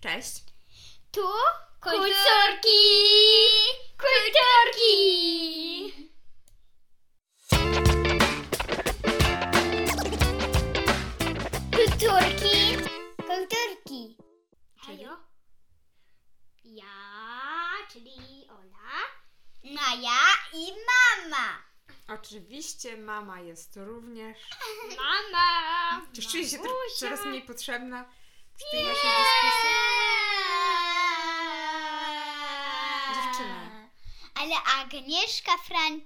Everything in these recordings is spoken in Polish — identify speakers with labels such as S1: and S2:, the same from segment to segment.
S1: Cześć.
S2: Tu
S3: Kulturki! Kulturki!
S2: kulturki.
S1: Czyli?
S2: Kulturki.
S3: Ajo. Ja, czyli Ola.
S2: No ja i mama.
S1: Oczywiście mama jest również.
S3: Mama!
S1: Czy czuję się tro-
S3: Mamusia.
S1: coraz mniej potrzebna w tej naszej dyskusji? Dziewczyny.
S2: Ale Agnieszka Fran...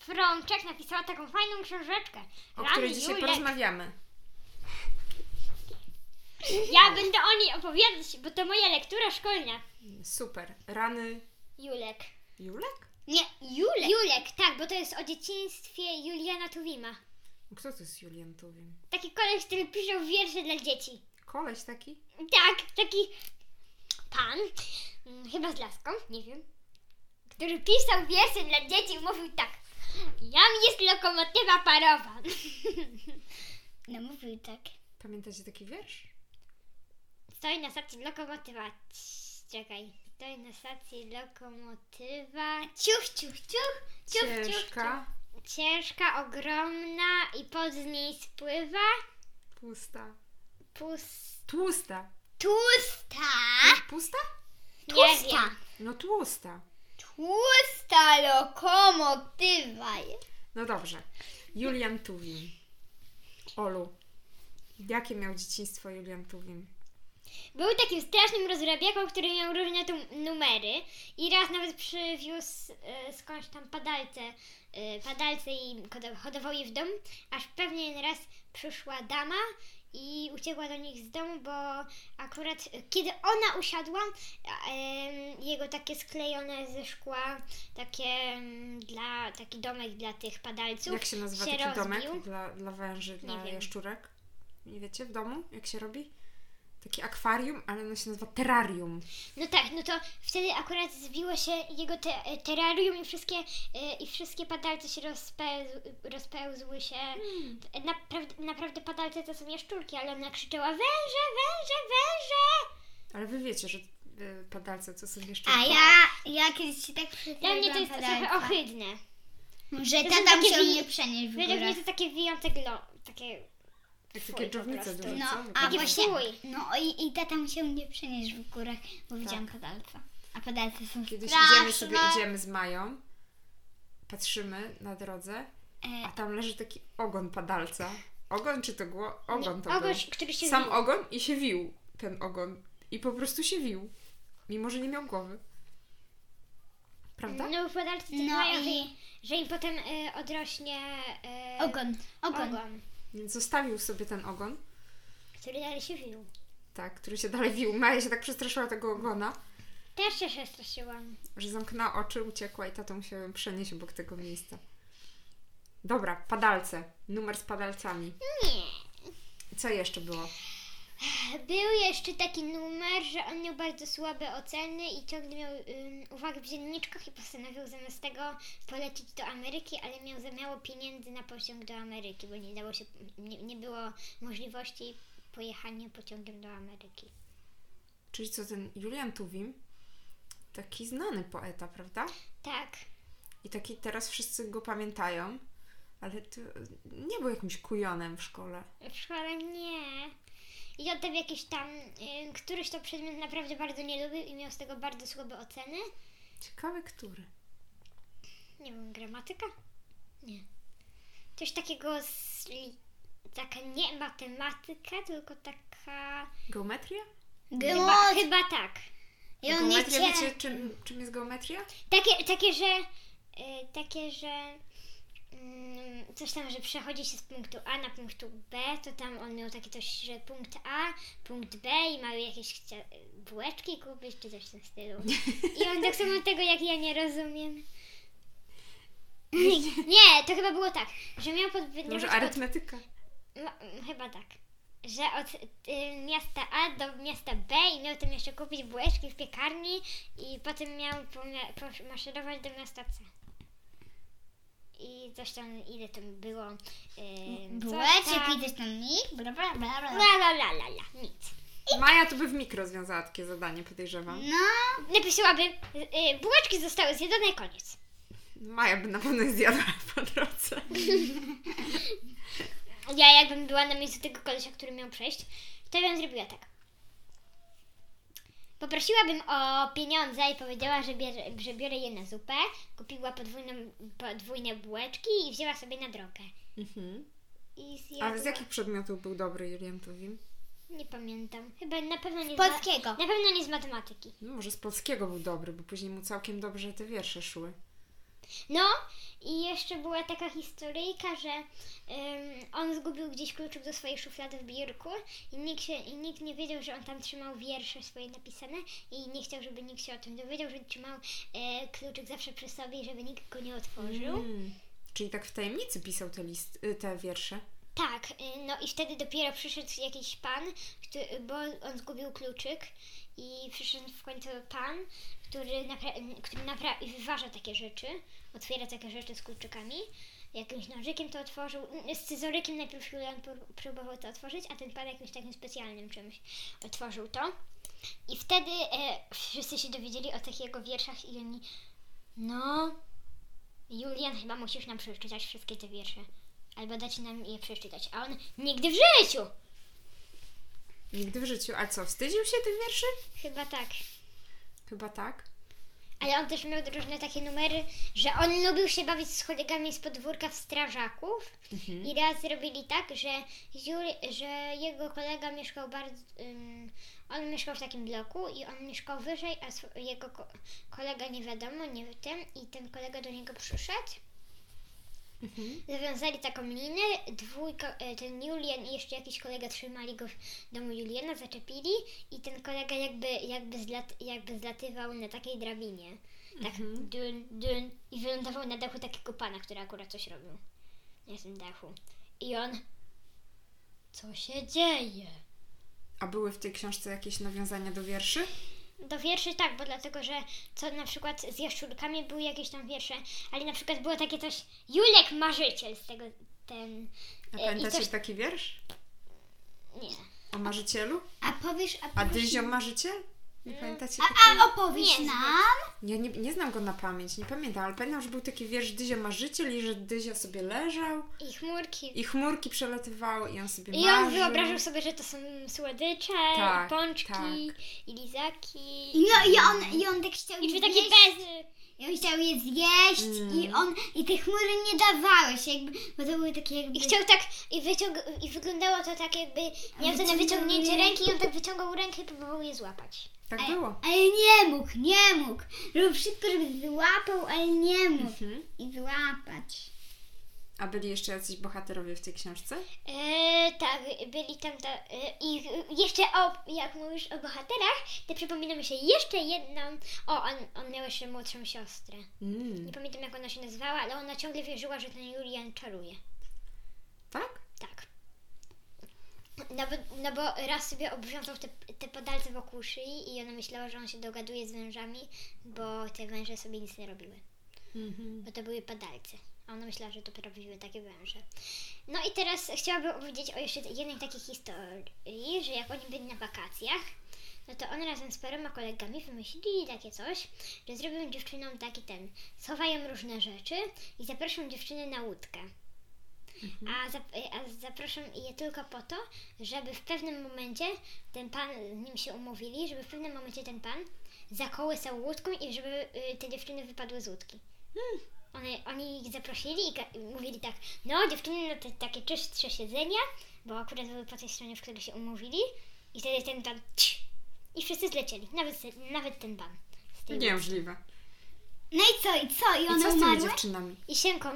S3: Frączek napisała taką fajną książeczkę.
S1: O
S3: Rany
S1: której dzisiaj
S3: Julek.
S1: porozmawiamy.
S3: Ja będę o niej opowiadać, bo to moja lektura szkolna.
S1: Super. Rany
S3: Julek.
S1: Julek?
S2: Nie, Julek.
S3: Julek, tak, bo to jest o dzieciństwie Juliana Tuwima.
S1: Kto to jest Julian Tuwim?
S3: Taki koleś, który pisze wiersze dla dzieci.
S1: Koleś taki?
S3: Tak, taki pan, mm, chyba z laską, nie wiem, który pisał wiersze dla dzieci i mówił tak. Jam jest lokomotywa parowa.
S2: No mówił tak.
S1: Pamiętacie taki wiersz?
S3: Stoi na stacji lokomotywa. Cii, Czekaj. Stoi na stacji lokomotywa.
S2: Ciuch, ciuch, ciuch.
S3: ciuch, ciuch.
S1: Ciężka,
S3: Ciężka, ogromna i pod z niej spływa
S1: pusta.
S3: pus...
S1: Tłusta.
S2: Tłusta.
S1: Pusta?
S3: Nie
S2: Tłusta.
S3: wiem.
S1: No tłusta.
S2: Tłusta lokomotywa.
S1: No dobrze. Julian Tuwim. Olu. Jakie miał dzieciństwo Julian Tuwim?
S3: Był takim strasznym rozrabiaką, który miał różne tu numery i raz nawet przywiózł e, skądś tam padalce, e, padalce i kodo- hodował je w dom, aż pewnie raz przyszła dama i uciekła do nich z domu, bo akurat e, kiedy ona usiadła, a, em, jego takie sklejone ze szkła, takie em, dla, taki domek dla tych padalców.
S1: Jak się nazywa
S3: się
S1: taki domek
S3: rozbił.
S1: dla, dla węży, dla
S3: wiem.
S1: jaszczurek? Nie wiecie, w domu? Jak się robi? Taki akwarium, ale ono się nazywa terrarium.
S3: No tak, no to wtedy akurat zbiło się jego te, terrarium i wszystkie, y, i wszystkie padalce się rozpełz, rozpełzły się.
S2: Hmm.
S3: Naprawdę, naprawdę padalce to są jaszczurki, ale ona krzyczała węże, węże, węże!
S1: Ale wy wiecie, że y, padalce to są jeszcze.
S2: A ja, ja kiedyś się tak
S3: Dla mnie to jest
S2: przytuliłam
S3: trochę
S2: padalca.
S3: ohydne.
S2: Może
S3: To są
S2: tak. tata
S3: takie
S2: musiał
S3: wi-
S2: mnie przenieść w
S3: Według
S2: górę.
S3: mnie to takie wyjątek lo, takie
S1: Jak
S3: Fuj,
S1: takie
S3: po
S1: dżownice
S3: prostu.
S1: duże,
S2: No,
S1: co?
S2: a
S1: Takie-
S3: takie
S2: właśnie-
S3: fuj. Tak.
S2: No i, i tata musiał mnie przenieść w górach, bo widziałam padalca. A padalce są
S1: Kiedyś
S2: straszne.
S1: idziemy sobie, idziemy z Mają, patrzymy na drodze, a
S2: E,
S1: tam leży taki ogon padalca. Ogon czy to było? Ogon to
S3: Ogon,
S1: był.
S3: który się
S1: Sam
S3: wi-
S1: ogon i się wił ten ogon. I po prostu się wił. Mimo, że nie miał głowy. Prawda?
S3: No, padalce to
S2: no
S3: mają, że,
S2: i
S3: że im potem y, odrośnie y,
S2: ogon, ogon.
S3: ogon,
S1: Więc zostawił sobie ten ogon,
S3: który dalej się wił.
S1: tak, który się dalej wił. Maja się tak przestraszyła tego ogona,
S3: Też się przestraszyłam.
S1: że zamknęła oczy, uciekła i tatą się przenieść obok tego miejsca. Dobra, padalce. Numer z padalcami.
S3: Nie.
S1: Co jeszcze było?
S3: Był jeszcze taki numer, że on miał bardzo słabe oceny i ciągle miał ym, uwagę w dzienniczkach i postanowił zamiast tego polecieć do Ameryki, ale miał za mało pieniędzy na pociąg do Ameryki, bo nie dało się, nie, nie było możliwości pojechania pociągiem do Ameryki.
S1: Czyli co, ten Julian Tuwim, taki znany poeta, prawda?
S3: Tak,
S1: I taki teraz wszyscy go pamiętają, ale to nie był jakimś kujonem w szkole.
S3: w szkole nie. I on tam jakiś tam, ym, któryś to przedmiot naprawdę bardzo nie lubił i miał z tego bardzo słabe oceny.
S1: Ciekawe, który.
S3: Nie wiem, gramatyka? Nie. Coś takiego z... li- Taka nie matematyka, tylko taka...
S1: Geometria?
S3: Chyba,
S2: Gmot.
S3: chyba tak.
S2: I on nie
S1: geometria,
S2: chce.
S1: wiecie czym, czym jest geometria?
S3: Takie, takie że... y, takie, że... mm, Coś tam, że przechodzi się z punktu A na punkt B, to tam on miał takie coś, że punkt A, punkt B i mały jakieś chcia... bułeczki kupić, czy coś w tym stylu. I on tak samo tego, jak ja nie rozumiem. Nie, to chyba było tak, że miał podwyższyć...
S1: Może arytmetyka?
S3: No, mm, chyba tak. Że od y, miasta A do miasta B i miał tam jeszcze kupić bułeczki w piekarni i potem miał pomia- pomaszerować do miasta C. I coś tam, ile tam było. Yy,
S2: Mm, Bułeczek
S3: tam,
S2: i też tam mi, bla bla bla bla.
S3: La la la la la, nic.
S1: Maja to by w mikro rozwiązała takie zadanie, podejrzewam.
S2: No,
S3: Napisałaby, y, y, bułeczki zostały zjedzone i koniec.
S1: Maja by na pewno je zjadła po drodze.
S3: Ja jakbym była na miejscu tego kolesia, który miał przejść, to bym zrobiła tak. Poprosiłabym o pieniądze i powiedziała, że, bierze, że biorę je na zupę, kupiła podwójną, podwójne bułeczki i wzięła sobie na drogę.
S1: Mhm.
S3: I zjadła.
S1: A z jakich przedmiotów był dobry Julian Tuwim?
S3: Nie pamiętam. Chyba na pewno nie z ma-
S2: No, polskiego.
S3: Na pewno nie z matematyki.
S1: No może z polskiego był dobry, bo później mu całkiem dobrze te wiersze szły.
S3: No i jeszcze była taka historyjka, że ym, on zgubił gdzieś kluczyk do swojej szuflady w biurku i nikt, się, i nikt nie wiedział, że on tam trzymał wiersze swoje napisane i nie chciał, żeby nikt się o tym dowiedział, że trzymał e, kluczyk zawsze przy sobie i żeby nikt go nie otworzył.
S1: Mm. Czyli tak w tajemnicy pisał te, list, y, te wiersze.
S3: Tak, y, no i wtedy dopiero przyszedł jakiś pan, który, bo on zgubił kluczyk i przyszedł w końcu pan, który, napra- który napra- i wyważa takie rzeczy, otwiera takie rzeczy z kluczykami. Jakimś nożykiem to otworzył, y, z scyzorykiem najpierw Julian pró- próbował to otworzyć, a ten pan jakimś takim specjalnym czymś otworzył to. I wtedy e, wszyscy się dowiedzieli o tych jego wierszach i oni, no, Julian chyba musisz nam przeczytać wszystkie te wiersze. Albo dać nam je przeczytać. A on nigdy w życiu!
S1: Nigdy w życiu. A co, wstydził się tych wierszy?
S3: Chyba tak.
S1: Chyba tak.
S3: Ale on też miał różne takie numery, że on lubił się bawić z kolegami z podwórka w strażaków. I raz zrobili tak, że, Juri, że jego kolega mieszkał bardzo. Ym, on mieszkał w takim bloku i on mieszkał wyżej, a sw- jego ko- kolega nie wiadomo, nie ten. I ten kolega do niego przyszedł. Zawiązali taką linę, dwójka, e, ten Julian i jeszcze jakiś kolega trzymali go w domu Juliana, zaczepili i ten kolega jakby, jakby, zlat, jakby zlatywał na takiej drabinie. Tak
S1: Mhm.
S3: dun, dun i wylądował na dachu takiego pana, który akurat coś robił na tym dachu. I on... Co się dzieje?
S1: A były w tej książce jakieś nawiązania do wierszy?
S3: Do wierszy tak, bo dlatego, że co na przykład z jaszczurkami były jakieś tam wiersze, ale na przykład było takie coś Julek Marzyciel z tego, ten...
S1: A
S3: e, i
S1: pamiętacie
S3: coś-
S1: taki wiersz?
S3: Nie.
S1: O marzycielu?
S2: a powiesz, a
S1: A
S2: powiesz,
S1: dyziom marzyciel? Nie pamiętacie
S2: a opowiesz
S3: Nie znam.
S2: nam?
S1: Ja nie, nie znam go na pamięć, nie pamiętam, ale pamiętam, że był taki wiersz Dyzio marzyciel i że Dyzio sobie leżał
S3: I chmurki
S1: i chmurki przelatywały i on sobie
S3: I
S1: marzył.
S3: on wyobrażał sobie, że to są słodycze,
S1: Tak,
S3: pączki,
S1: tak.
S3: i lizaki,
S2: I No i on, i on tak chciał
S3: i
S2: je
S3: dwie takie
S2: zjeść.
S3: bezy.
S2: I on chciał je zjeść i on, i te chmury nie dawałeś jakby, bo to były takie jakby...
S3: I chciał tak, i, wyciąg, i wyglądało to tak jakby miał to na
S2: wyciągnął
S3: wyciągnięcie
S2: rękę.
S3: ręki i on tak wyciągał rękę i próbował je złapać.
S1: Tak
S2: ale,
S1: było.
S2: ale nie mógł, nie mógł. Robił wszystko, żeby złapał, ale nie mógł.
S1: Mhm.
S2: I złapać.
S1: A byli jeszcze jacyś bohaterowie w tej książce?
S3: E, tak, byli tam ta, e, i jeszcze o, jak mówisz o bohaterach, to przypomina mi się jeszcze jedną, o, on, on miał jeszcze młodszą siostrę.
S1: Mm.
S3: Nie pamiętam jak ona się nazywała, ale ona ciągle wierzyła, że ten Julian czaruje.
S1: Tak?
S3: Tak. No bo, no bo raz sobie obwiązał te, te padalce wokół szyi i ona myślała, że on się dogaduje z wężami, bo te węże sobie nic nie robiły.
S1: Mhm.
S3: Bo to były padalce. A ona myślała, że to prawdziwe takie węże. No i teraz chciałabym opowiedzieć o jeszcze jednej takiej historii, że jak oni byli na wakacjach, no to on razem z paroma kolegami wymyślili takie coś, że zrobią dziewczynom taki ten, schowają różne rzeczy i zaproszą dziewczyny na łódkę. A, zap- e, a zaproszą je tylko po to, żeby w pewnym momencie ten pan, z nim się umówili, żeby w pewnym momencie ten pan zakołysał łódką i żeby y, te dziewczyny wypadły z łódki. One, oni ich zaprosili i, ga- i mówili tak, no dziewczyny no te takie czystsze siedzenia, bo akurat były po tej stronie, w której się umówili i wtedy ten pan cii, i wszyscy zlecieli, nawet, nawet ten pan. z tej łódki.
S1: Niemożliwe.
S2: No i co, i co? I
S1: I
S2: one
S1: co z tymi
S2: umarły?
S1: dziewczynami?
S3: I sięką,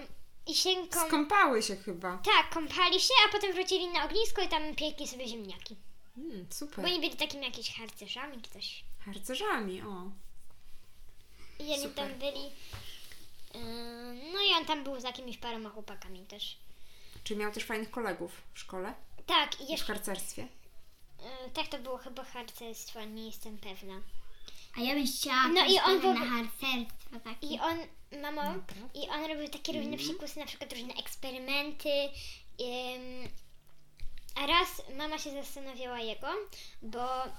S3: i sięką,
S1: Skąpały się chyba.
S3: tak, kąpali się, a potem wrócili na ognisko i tam piekli sobie ziemniaki.
S1: Mm,
S3: Bo
S1: super.
S3: oni byli takimi jakimiś harcerzami czy coś.
S1: Harcerzami, o.
S3: I oni
S1: Super.
S3: tam byli. Yy, no i on tam był z jakimiś paroma chłopakami też.
S1: Czy miał też fajnych kolegów w szkole?
S3: Tak, i
S1: I w
S3: jeszcze.
S1: harcerstwie?
S3: Yy, tak to było chyba harcerstwo, nie jestem pewna.
S2: A ja bym chciała
S3: No i on
S2: był... na
S3: był-
S2: harcerstwo takie.
S3: I on, mamo,
S1: Dobra.
S3: i
S1: Mhm.
S3: on robił takie różne psikusy, na przykład różne eksperymenty. Ym, A raz mama się zastanawiała jego, bo
S1: Mhm.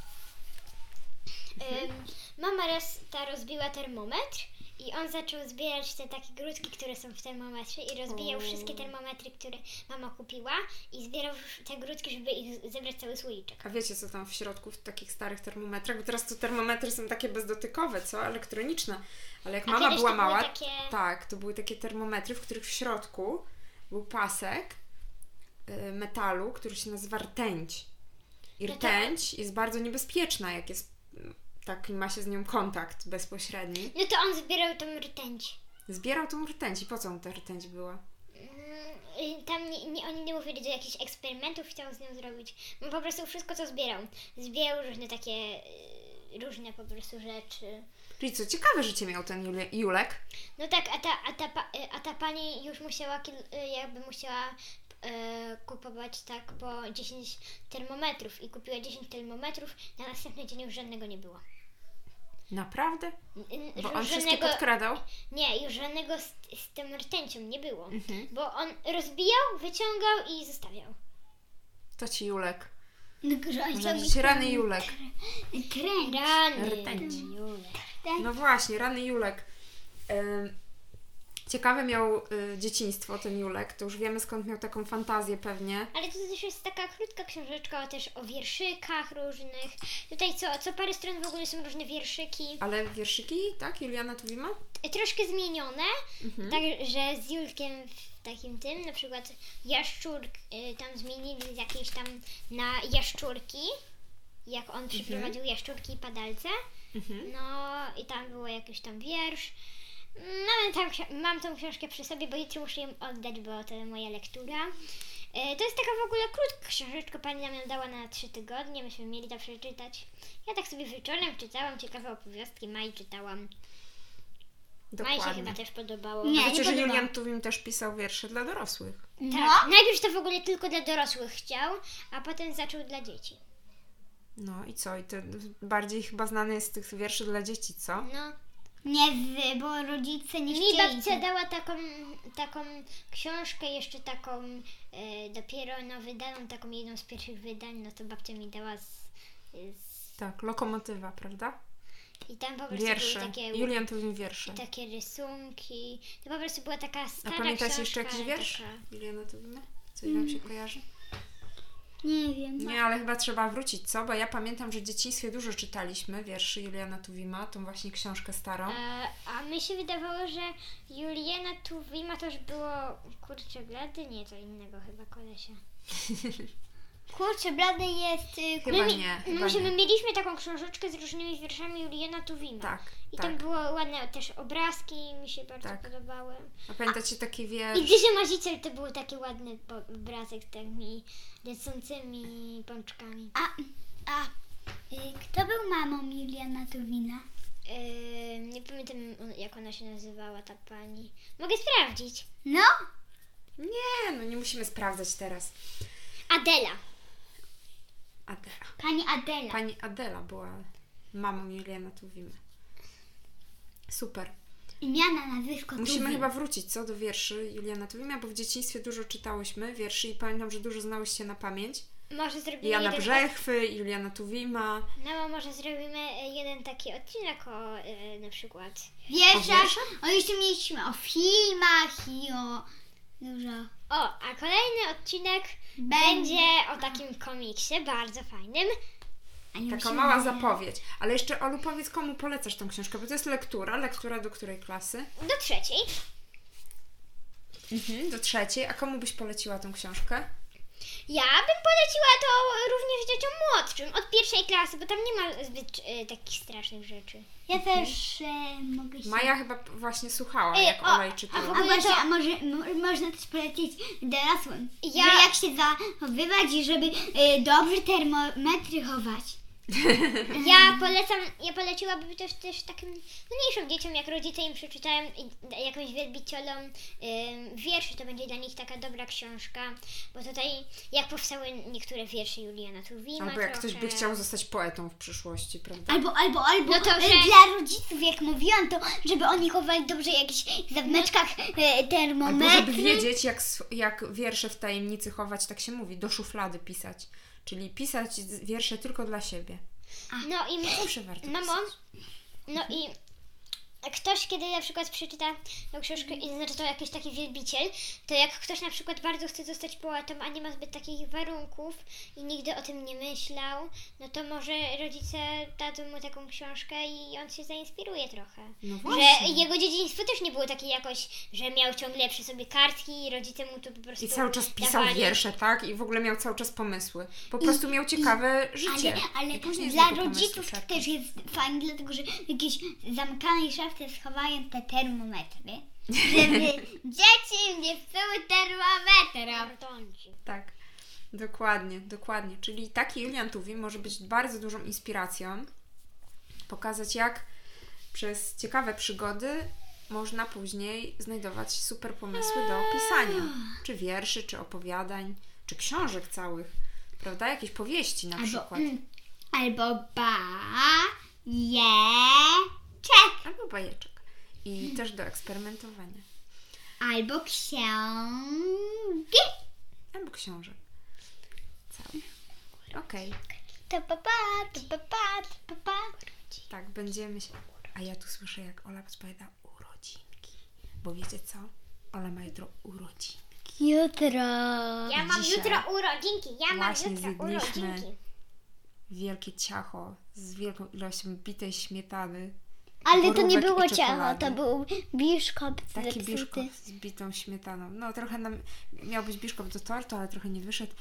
S3: ym, mama raz ta rozbiła termometr i on zaczął zbierać te takie grudki, które są w termometrze i rozbijał
S1: O.
S3: wszystkie termometry, które mama kupiła i zbierał te grudki, żeby ich zebrać cały słoiczek.
S1: A wiecie, co tam w środku w takich starych termometrach? Bo teraz to termometry są takie bezdotykowe, co? Elektroniczne. Ale jak
S3: A
S1: mama
S3: kiedyś
S1: była
S3: to były
S1: mała,
S3: takie-
S1: tak, to były takie termometry, w których w środku był pasek y, metalu, który się nazywa rtęć. I
S3: No to-
S1: rtęć jest bardzo niebezpieczna, jak jest mm, tak ma się z nią kontakt bezpośredni.
S3: No to on zbierał tą rtęć.
S1: Zbierał tą rtęć i po co mu ta rtęć była?
S3: Mm, y, Tam nie, nie, oni nie mówili, że jakichś eksperymentów chciał z nią zrobić. No po prostu wszystko, co zbierał. Zbierał różne takie, y, różne po prostu rzeczy.
S1: Czyli co, ciekawe życie miał ten Jule- Julek.
S3: No tak, a ta, a ta, pa- y, a ta pani już musiała, kil- y, jakby musiała y, kupować tak po 10 termometrów i kupiła 10 termometrów, na następny dzień już żadnego nie było.
S1: Naprawdę?
S3: Y, y,
S1: Bo on
S3: już
S1: wszystkie podkradał?
S3: nie, już żadnego z, z tym rtęcią nie było.
S1: Mhm.
S3: Bo on rozbijał, wyciągał i zostawiał.
S1: To ci Julek.
S2: No groźą
S1: Może
S2: mi
S1: być rany Julek.
S2: kręć.
S3: Rany.
S1: Rtęć.
S3: Jule.
S1: No właśnie, rany Julek. Ym, Ciekawe miał y, dzieciństwo ten Julek, to już wiemy skąd miał taką fantazję pewnie.
S3: Ale to też jest taka krótka książeczka też o wierszykach różnych. Tutaj co, co parę stron w ogóle są różne wierszyki.
S1: Ale wierszyki, tak? Juliana Mhm, tu ma?
S3: Troszkę zmienione, Tak. także z Julkiem w takim tym, na przykład jaszczurk, y, tam zmienili z jakiejś tam na jaszczurki, jak on przyprowadził jaszczurki i padalce.
S1: mhm.
S3: No i tam było jakiś tam wiersz. No, ale tam, ksi- mam tą książkę przy sobie, bo jutro muszę ją oddać, bo to moja lektura. E, To jest taka w ogóle krótka książeczka, pani nam ją dała na trzy tygodnie, myśmy mieli to przeczytać. Ja tak sobie wieczorem czytałam ciekawe opowiastki, Maj czytałam. Maj się chyba
S1: Dokładnie. No
S3: też podobało.
S2: Nie,
S1: Wiecie, że
S2: podoba.
S1: Julian Tuwim też pisał wiersze dla dorosłych.
S2: No,
S3: Tak, najpierw to w ogóle tylko dla dorosłych chciał, a potem zaczął dla dzieci.
S1: No i co? I to bardziej chyba znany jest z tych wierszy dla dzieci, co?
S3: No,
S2: nie wy, bo rodzice nie
S3: mi
S2: chcieli.
S3: babcia dała taką, taką książkę, jeszcze taką e, dopiero no, wydaną, taką jedną z pierwszych wydań, no to babcia mi dała z, z,
S1: Tak, lokomotywa, prawda?
S3: i tam po prostu były
S1: Wiersze.
S3: takie...
S1: Julian Tuwim wiersze.
S3: takie rysunki. To po prostu była taka
S1: A
S3: stara
S1: pamiętacie
S3: książka,
S1: jeszcze jakiś
S3: ale
S1: wiersz
S3: taka-
S1: Juliana Tuwima? Coś Wam
S3: Mm.
S1: się kojarzy?
S2: Nie wiem.
S3: No.
S1: Nie, ale chyba trzeba wrócić, co? Bo ja pamiętam, że w dzieciństwie dużo czytaliśmy wierszy Juliana Tuwima, tą właśnie książkę starą.
S3: E, A mi się wydawało, że Juliana Tuwima to już było kurczę blady, nie to innego chyba kolesia.
S2: Kurczę, blady jest... y,
S1: Chyba
S3: my, no mi-
S1: nie,
S3: my,
S1: chyba
S3: że my
S1: nie.
S3: mieliśmy taką książeczkę z różnymi wierszami Juliana Tuwima.
S1: Tak,
S3: I tam
S1: tak.
S3: było ładne też obrazki, mi się bardzo
S1: Tak.
S3: podobały.
S1: A pamiętacie taki
S3: I
S1: wiersz?
S3: Gdzie Maziciel to był taki ładny po- obrazek z takimi lecącymi pączkami.
S2: A, a y, kto był mamą Juliana Tuwina?
S3: Em, nie pamiętam jak ona się nazywała ta pani. Mogę sprawdzić.
S2: No,
S1: Nie, no nie musimy sprawdzać teraz.
S3: Adela.
S1: Adela.
S2: pani Adela.
S1: Pani Adela była mamą Juliana Tuwima. Super.
S2: Imiana, nazwisko
S1: Musimy
S2: Tuwim.
S1: chyba wrócić, co? Do wierszy Juliana Tuwima, bo w dzieciństwie dużo czytałyśmy wierszy i pamiętam, że dużo znałyście na pamięć.
S3: Może zrobimy
S1: Jana
S3: jeden...
S1: Brzechwy, Juliana Tuwima.
S3: No, może zrobimy e, jeden taki odcinek o e, na przykład.
S2: Wierszach, o jeszcze mieliśmy o filmach i o... Dużo.
S3: O, a kolejny odcinek
S2: Będzie.
S3: będzie o takim komiksie bardzo fajnym.
S2: A nie
S1: Taka
S2: musimy-
S1: mała zapowiedź. Ale jeszcze, Olu, powiedz, komu polecasz tą książkę? Bo to jest lektura. Lektura do której klasy?
S3: Do trzeciej.
S1: Mhm, do trzeciej. A komu byś poleciła tą książkę?
S3: Ja bym poleciła to również dzieciom młodszym, od pierwszej klasy, bo tam nie ma zbyt e, takich strasznych rzeczy.
S2: Ja też e, mogę się...
S1: Maja chyba p- właśnie słuchała,
S3: Ej,
S1: jak
S3: o,
S1: Ola jej
S3: a w
S2: A
S1: czytała.
S3: ogóle-
S2: może, a może mo- można też polecić dorosłym,
S3: Ja-
S2: że jak się zachowywać i żeby y, dobrze e, termometry chować.
S1: Mhm.
S3: Ja polecam, ja poleciłabym też, też takim mniejszym dzieciom, jak rodzice im przeczytają i da- jakimś wielbicielom ym, wierszy, to będzie dla nich taka dobra książka, bo tutaj jak powstały niektóre wiersze Juliana Tuwima
S1: Albo jak ktoś by
S3: trochę.
S1: chciał zostać poetą w przyszłości, prawda?
S2: Albo, albo, albo
S3: No to
S2: e,
S3: że-
S2: dla rodziców, jak mówiłam, to żeby oni chowali dobrze jakieś
S3: No.
S2: w meczkach e,
S1: Albo żeby
S2: termometry.
S1: wiedzieć, jak, sw- jak wiersze w tajemnicy chować, tak się mówi, do szuflady pisać. Czyli pisać z- wiersze tylko dla siebie.
S3: No i
S1: Zawsze warto
S3: Mamo,
S1: pisać.
S3: no
S1: Mhm.
S3: i ktoś, kiedy na przykład przeczyta tą książkę i
S1: Mhm.
S3: zaczyta jakiś taki wielbiciel, to jak ktoś na przykład bardzo chce zostać poetą, a nie ma zbyt takich warunków i nigdy o tym nie myślał, no to może rodzice dadzą mu taką książkę i on się zainspiruje trochę.
S1: No
S3: Że
S1: właśnie.
S3: jego dzieciństwo też nie było takie jakoś, że miał ciągle przy sobie kartki i rodzice mu to po prostu
S1: I cały czas pisał
S3: dawali.
S1: wiersze, tak? I w ogóle miał cały czas pomysły. Po prostu miał ciekawe życie.
S2: Ale, ale
S1: I później z
S2: dla
S1: tego pomysłu
S2: rodziców to
S1: czerpał.
S2: też jest fajne, dlatego że w jakiejś zamkanej szafce schowają te termometry, żeby dzieci nie były termometra.
S3: Kartonci.
S1: Tak, dokładnie, dokładnie. Czyli taki Julian Tuwi może być bardzo dużą inspiracją, pokazać jak przez ciekawe przygody można później znajdować super pomysły do pisania, czy wierszy, czy opowiadań, czy książek całych, prawda? Jakieś powieści na
S2: Albo,
S1: przykład.
S2: mm, albo ba, je, czek.
S1: Albo bajeczek. I też do eksperymentowania.
S2: Albo książki.
S1: Albo książek. Całych. Okej,
S2: To pa, pa, to pa, pa, to pa, pa.
S1: tak, będziemy się... A ja tu słyszę, jak Ola spowiada urodzinki. Bo wiecie co? Ola ma jutro urodzin.
S2: Jutro.
S3: Ja mam
S1: Dzisiaj.
S3: jutro urodzinki, ja mam
S1: No, Właśnie
S3: jutro
S1: zjedliśmy
S3: urodzinki.
S1: Wielkie ciacho z wielką ilością bitej śmietany.
S2: Ale to nie
S1: borówek
S2: było
S1: i
S2: ciało,
S1: czekolady.
S2: to był biszkopt
S1: Taki
S2: zepsuty.
S1: biszkopt z bitą śmietaną. No trochę nam miał być biszkopt do tortu, ale trochę nie wyszedł.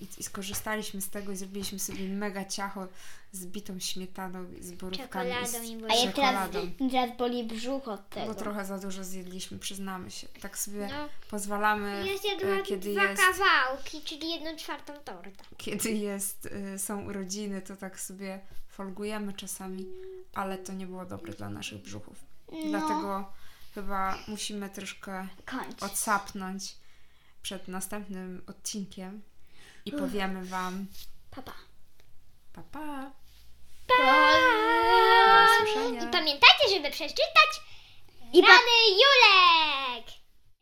S1: I, I skorzystaliśmy z tego i zrobiliśmy sobie mega ciacho z bitą śmietaną, z borówkami i z
S3: Czekoladą i
S2: A
S1: czekoladą.
S2: ja teraz, teraz boli brzuch od
S1: Bo
S2: tego.
S1: trochę za dużo zjedliśmy, przyznamy się. Tak sobie
S3: No.
S1: pozwalamy,
S3: Ja
S1: e,
S3: zjadłam
S1: kiedy
S3: dwa
S1: jest
S3: kawałki, czyli jedną czwartą torta.
S1: kiedy jest, y, są urodziny, to tak sobie folgujemy czasami, ale to nie było dobre dla naszych brzuchów.
S2: No.
S1: Dlatego chyba musimy troszkę
S2: Kończ.
S1: odsapnąć przed następnym odcinkiem i powiemy Wam
S2: Pa, pa.
S1: pa pa,
S3: Pa!
S1: do usłyszenia.
S3: I pamiętajcie, żeby przeczytać
S2: I pa-
S3: Rany Julek!